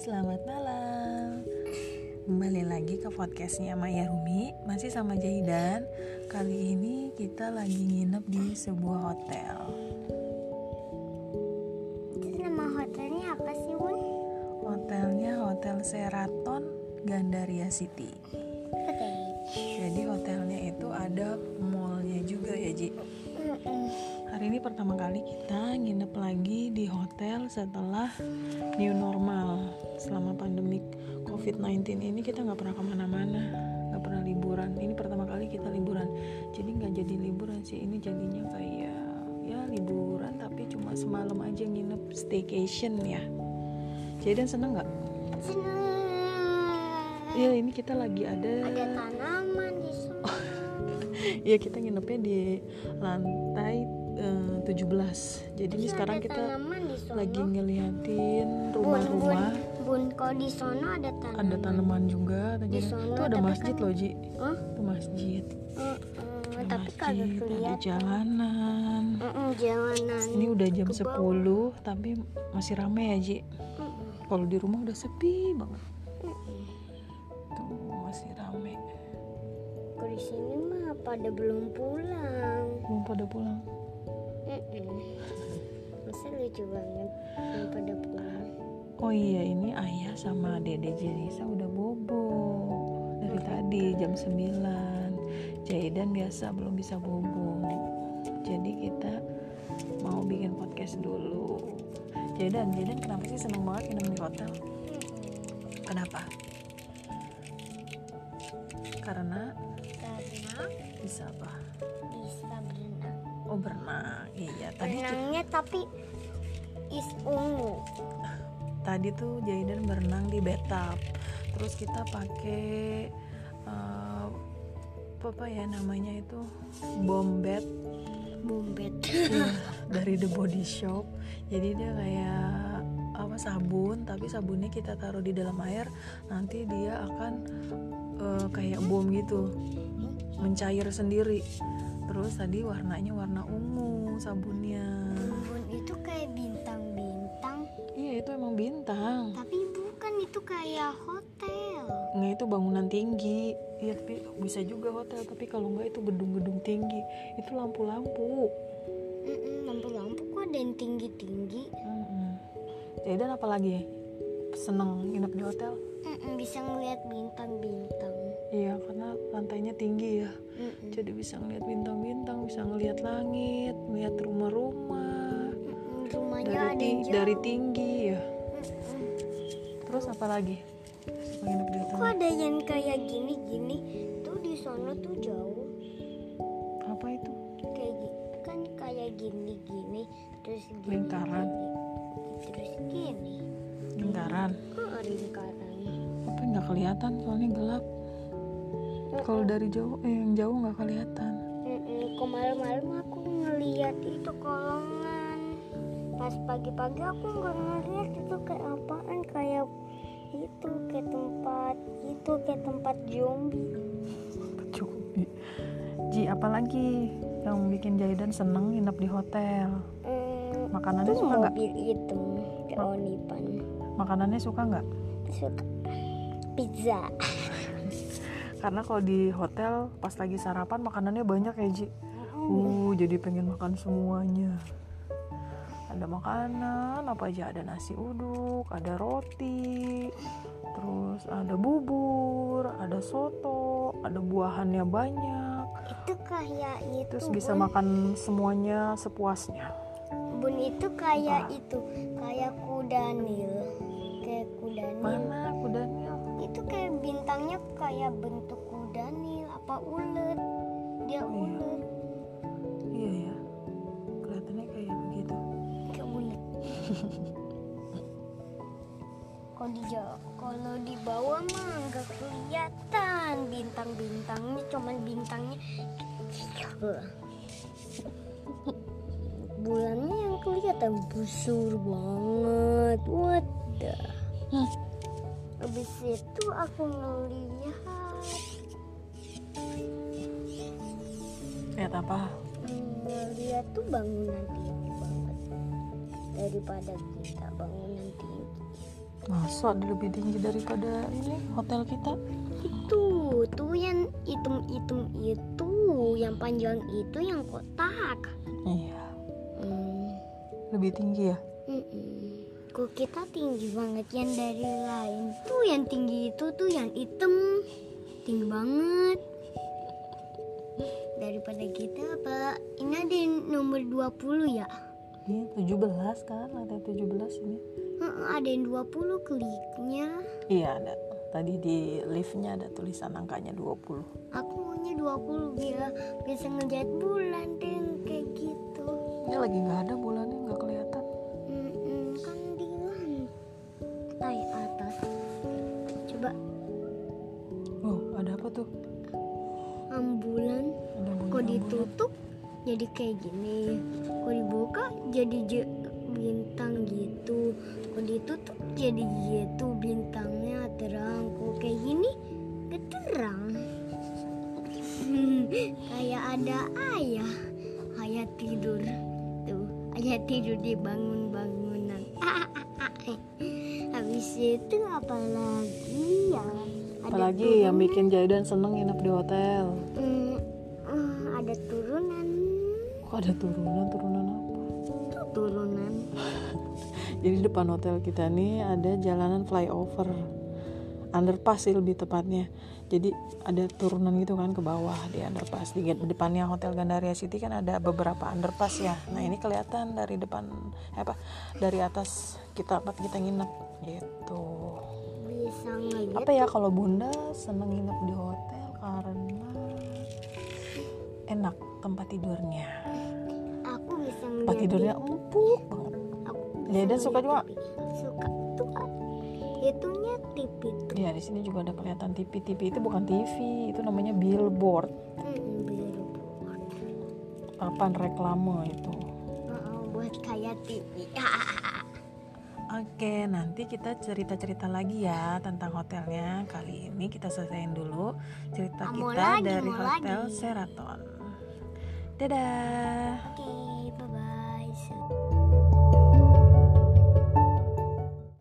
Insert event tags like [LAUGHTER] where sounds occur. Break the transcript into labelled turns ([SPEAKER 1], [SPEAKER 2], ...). [SPEAKER 1] selamat malam Kembali lagi ke podcastnya Maya Rumi Masih sama Jahidan Kali ini kita lagi nginep di sebuah hotel
[SPEAKER 2] Terus nama hotelnya apa sih, Bun?
[SPEAKER 1] Hotelnya Hotel Sheraton Gandaria City
[SPEAKER 2] Oke.
[SPEAKER 1] Jadi hotelnya itu ada mallnya juga ya Ji Hari ini pertama kali kita nginep lagi di hotel setelah new normal selama pandemi COVID-19 ini kita nggak pernah kemana-mana nggak pernah liburan ini pertama kali kita liburan jadi nggak jadi liburan sih ini jadinya kayak ya liburan tapi cuma semalam aja nginep staycation ya jadi dan seneng nggak?
[SPEAKER 2] Senang.
[SPEAKER 1] Ya ini kita lagi ada
[SPEAKER 2] Ada tanaman di sana.
[SPEAKER 1] Oh, ya kita nginepnya di lantai eh, 17 jadi ini
[SPEAKER 2] Terus
[SPEAKER 1] sekarang
[SPEAKER 2] ada
[SPEAKER 1] kita
[SPEAKER 2] tanaman di sana.
[SPEAKER 1] lagi ngeliatin
[SPEAKER 2] Bun, bun,
[SPEAKER 1] rumah-rumah
[SPEAKER 2] bun, kok di sana ada tanaman?
[SPEAKER 1] ada tanaman juga
[SPEAKER 2] Di
[SPEAKER 1] tadi
[SPEAKER 2] sono,
[SPEAKER 1] itu ada
[SPEAKER 2] tapi
[SPEAKER 1] masjid
[SPEAKER 2] kan-
[SPEAKER 1] loh Ji
[SPEAKER 2] Hah?
[SPEAKER 1] itu masjid
[SPEAKER 2] Mm-mm,
[SPEAKER 1] ada
[SPEAKER 2] tapi kagak
[SPEAKER 1] masjid ada
[SPEAKER 2] kelihatan.
[SPEAKER 1] jalanan
[SPEAKER 2] Mm-mm, jalanan.
[SPEAKER 1] ini udah jam
[SPEAKER 2] ke
[SPEAKER 1] 10
[SPEAKER 2] bawah.
[SPEAKER 1] tapi masih rame ya Ji
[SPEAKER 2] Mm-mm,
[SPEAKER 1] kalau di rumah udah sepi banget
[SPEAKER 2] mm-mm.
[SPEAKER 1] tuh masih rame
[SPEAKER 2] Kok di sini mah pada belum pulang.
[SPEAKER 1] belum pada pulang
[SPEAKER 2] Mm-mm. Masa lucu banget belum pada pulang.
[SPEAKER 1] oh iya ini ayah sama dede Jelisa udah bobo dari tadi jam 9 Jaidan biasa belum bisa bobo jadi kita mau bikin podcast dulu Jaidan, Jaidan kenapa sih seneng banget minum di hotel?
[SPEAKER 2] Mm-mm.
[SPEAKER 1] Kenapa? Karena
[SPEAKER 2] Karena
[SPEAKER 1] bisa apa?
[SPEAKER 2] bisa berenang.
[SPEAKER 1] Oh berenang. Iya. Tadi tuh,
[SPEAKER 2] Renangnya tapi is ungu.
[SPEAKER 1] tadi tuh Jaidan berenang di bathtub. Terus kita pakai eh, apa ya namanya itu bombet
[SPEAKER 2] Bombet.
[SPEAKER 1] [COUGHS] dari The Body Shop. Jadi dia kayak apa sabun, tapi sabunnya kita taruh di dalam air, nanti dia akan eh, kayak bom gitu, mencair sendiri. Terus tadi warnanya warna ungu sabunnya.
[SPEAKER 2] Bun itu kayak bintang-bintang,
[SPEAKER 1] Iya itu emang bintang.
[SPEAKER 2] tapi bukan itu kayak hotel.
[SPEAKER 1] Nggak itu bangunan tinggi. Iya tapi bisa juga hotel, tapi kalau nggak itu gedung-gedung tinggi. Itu lampu-lampu.
[SPEAKER 2] Mm-mm, Lampu-lampu kok ada yang tinggi-tinggi.
[SPEAKER 1] Mm-mm. Jadi dan apalagi seneng nginep di hotel?
[SPEAKER 2] Mm-mm, Bisa ngeliat bintang-bintang.
[SPEAKER 1] Iya, karena lantainya tinggi ya.
[SPEAKER 2] Mm-mm.
[SPEAKER 1] Jadi bisa ngeliat bintang-bintang, bisa ngeliat langit, ngeliat rumah-rumah
[SPEAKER 2] Mm-mm, Rumahnya
[SPEAKER 1] dari
[SPEAKER 2] ada yang
[SPEAKER 1] ti-
[SPEAKER 2] jauh.
[SPEAKER 1] dari tinggi ya.
[SPEAKER 2] Mm-mm.
[SPEAKER 1] Terus apa lagi? Suka nginep di hotel.
[SPEAKER 2] Kok ada yang kayak gini-gini? Tuh di sana tuh jauh.
[SPEAKER 1] Apa itu?
[SPEAKER 2] kayak gi- kan kayak gini gini terus gini,
[SPEAKER 1] Lingkaran.
[SPEAKER 2] gini, terus gini
[SPEAKER 1] Lingkaran.
[SPEAKER 2] oh lingkaran
[SPEAKER 1] Apa nggak kelihatan? Soalnya gelap. Kalau dari jauh, eh, yang jauh nggak kelihatan.
[SPEAKER 2] Mm-mm, kok malam-malam aku ngeliat itu kolongan pas pagi-pagi aku nggak ngeliat itu kayak apaan kayak itu kayak tempat itu kayak tempat zombie
[SPEAKER 1] Cukup. Ji, apalagi yang bikin Jaidan seneng nginep di hotel.
[SPEAKER 2] Mm,
[SPEAKER 1] Makanannya
[SPEAKER 2] itu
[SPEAKER 1] suka nggak?
[SPEAKER 2] mobil hitam kayak
[SPEAKER 1] Oh.
[SPEAKER 2] onipan
[SPEAKER 1] Makanannya suka nggak?
[SPEAKER 2] suka pizza
[SPEAKER 1] Karena kalau di hotel pas lagi sarapan makanannya banyak ya Ji. Uh, jadi pengen makan semuanya. Ada makanan, apa aja ada nasi uduk, ada roti, terus ada bubur, ada soto, ada buahannya banyak.
[SPEAKER 2] itu kayak itu
[SPEAKER 1] Terus bisa
[SPEAKER 2] Bun.
[SPEAKER 1] makan semuanya sepuasnya.
[SPEAKER 2] Bun itu kayak itu, kayak kuda nil. Kayak kuda nil.
[SPEAKER 1] Mana kudanya?
[SPEAKER 2] Itu kayak bintangnya kayak bentuk kuda nil apa ulet. Dia
[SPEAKER 1] Oh, iya.
[SPEAKER 2] ulet.
[SPEAKER 1] Iya ya. Kelihatannya kayak begitu.
[SPEAKER 2] Kayak ulet. Kalau di ja- kalau di bawah mah nggak kelihatan bintang-bintangnya, cuman bintangnya kecil. Bulannya yang kelihatan busur banget. What the? Habis itu aku ngelihat
[SPEAKER 1] Lihat apa?
[SPEAKER 2] ngelihat tuh bangunan tinggi banget daripada kita bangunan tinggi
[SPEAKER 1] Masa ada lebih tinggi daripada ini hotel kita?
[SPEAKER 2] itu tuh yang hitam-hitam itu yang panjang itu yang kotak
[SPEAKER 1] Iya,
[SPEAKER 2] hmm.
[SPEAKER 1] lebih tinggi ya.
[SPEAKER 2] Mm-mm. Kok kita tinggi banget yang dari lain tuh yang tinggi itu tuh yang hitam tinggi banget daripada kita apa ini ada yang nomor 20 ya
[SPEAKER 1] Ini 17 Iya, kan, ada 17 ini.
[SPEAKER 2] Heeh, ada yang 20 kliknya
[SPEAKER 1] Iya, ada. Tadi di liftnya ada tulisan angkanya 20.
[SPEAKER 2] aku maunya 20 biar Iya, bisa ngejahit bulan deh kayak gitu
[SPEAKER 1] Ini lagi nggak ada bulannya, nggak kelihatan.
[SPEAKER 2] Mm-mm, kan di lantai atas coba
[SPEAKER 1] Oh, ada apa tuh?
[SPEAKER 2] ambulan
[SPEAKER 1] Ada bunyi
[SPEAKER 2] kok
[SPEAKER 1] ambulans.
[SPEAKER 2] ditutup jadi kayak gini kok dibuka jadi je- bintang gitu kok ditutup jadi gitu bintangnya terang kok kayak gini keterang [LAUGHS] kayak ada ayah ayah tidur tuh ayah tidur di bangun bangunan [LAUGHS] habis itu apalagi yang ada
[SPEAKER 1] Apalagi yang
[SPEAKER 2] turun-
[SPEAKER 1] bikin Jaidan seneng nginep di hotel.
[SPEAKER 2] Mm, mm, ada turunan
[SPEAKER 1] Kok ada turunan, turunan apa?
[SPEAKER 2] itu turunan
[SPEAKER 1] Jadi depan hotel kita nih ada jalanan flyover underpass sih lebih tepatnya. Jadi ada turunan gitu kan ke bawah di underpass. Di ge- depannya Hotel Gandaria City kan ada beberapa underpass ya. Nah, ini kelihatan dari depan eh, apa? Dari atas kita tempat kita nginep gitu.
[SPEAKER 2] bisa ngeliat
[SPEAKER 1] Apa ya kalau Bunda seneng nginep di hotel karena enak tempat tidurnya.
[SPEAKER 2] aku bisa
[SPEAKER 1] Tempat
[SPEAKER 2] ngeliat
[SPEAKER 1] tidurnya empuk banget.
[SPEAKER 2] aku bisa
[SPEAKER 1] Jeda suka juga?
[SPEAKER 2] ngeliat TV. suka tuh ah, itunya TV tuh
[SPEAKER 1] Ya di sini juga ada kelihatan TV. TV itu bukan TV, itu namanya billboard,
[SPEAKER 2] hmm, billboard
[SPEAKER 1] papan reklame itu.
[SPEAKER 2] Heeh, Oh, buat kayak TV
[SPEAKER 1] Oke, nanti kita cerita-cerita lagi ya tentang hotelnya. Kali ini kita selesaiin dulu cerita
[SPEAKER 2] Ah, mau
[SPEAKER 1] kita
[SPEAKER 2] lagi,
[SPEAKER 1] dari
[SPEAKER 2] mau
[SPEAKER 1] Hotel
[SPEAKER 2] lagi.
[SPEAKER 1] Sheraton. Dadah.
[SPEAKER 2] [LAUGHS] oke bye bye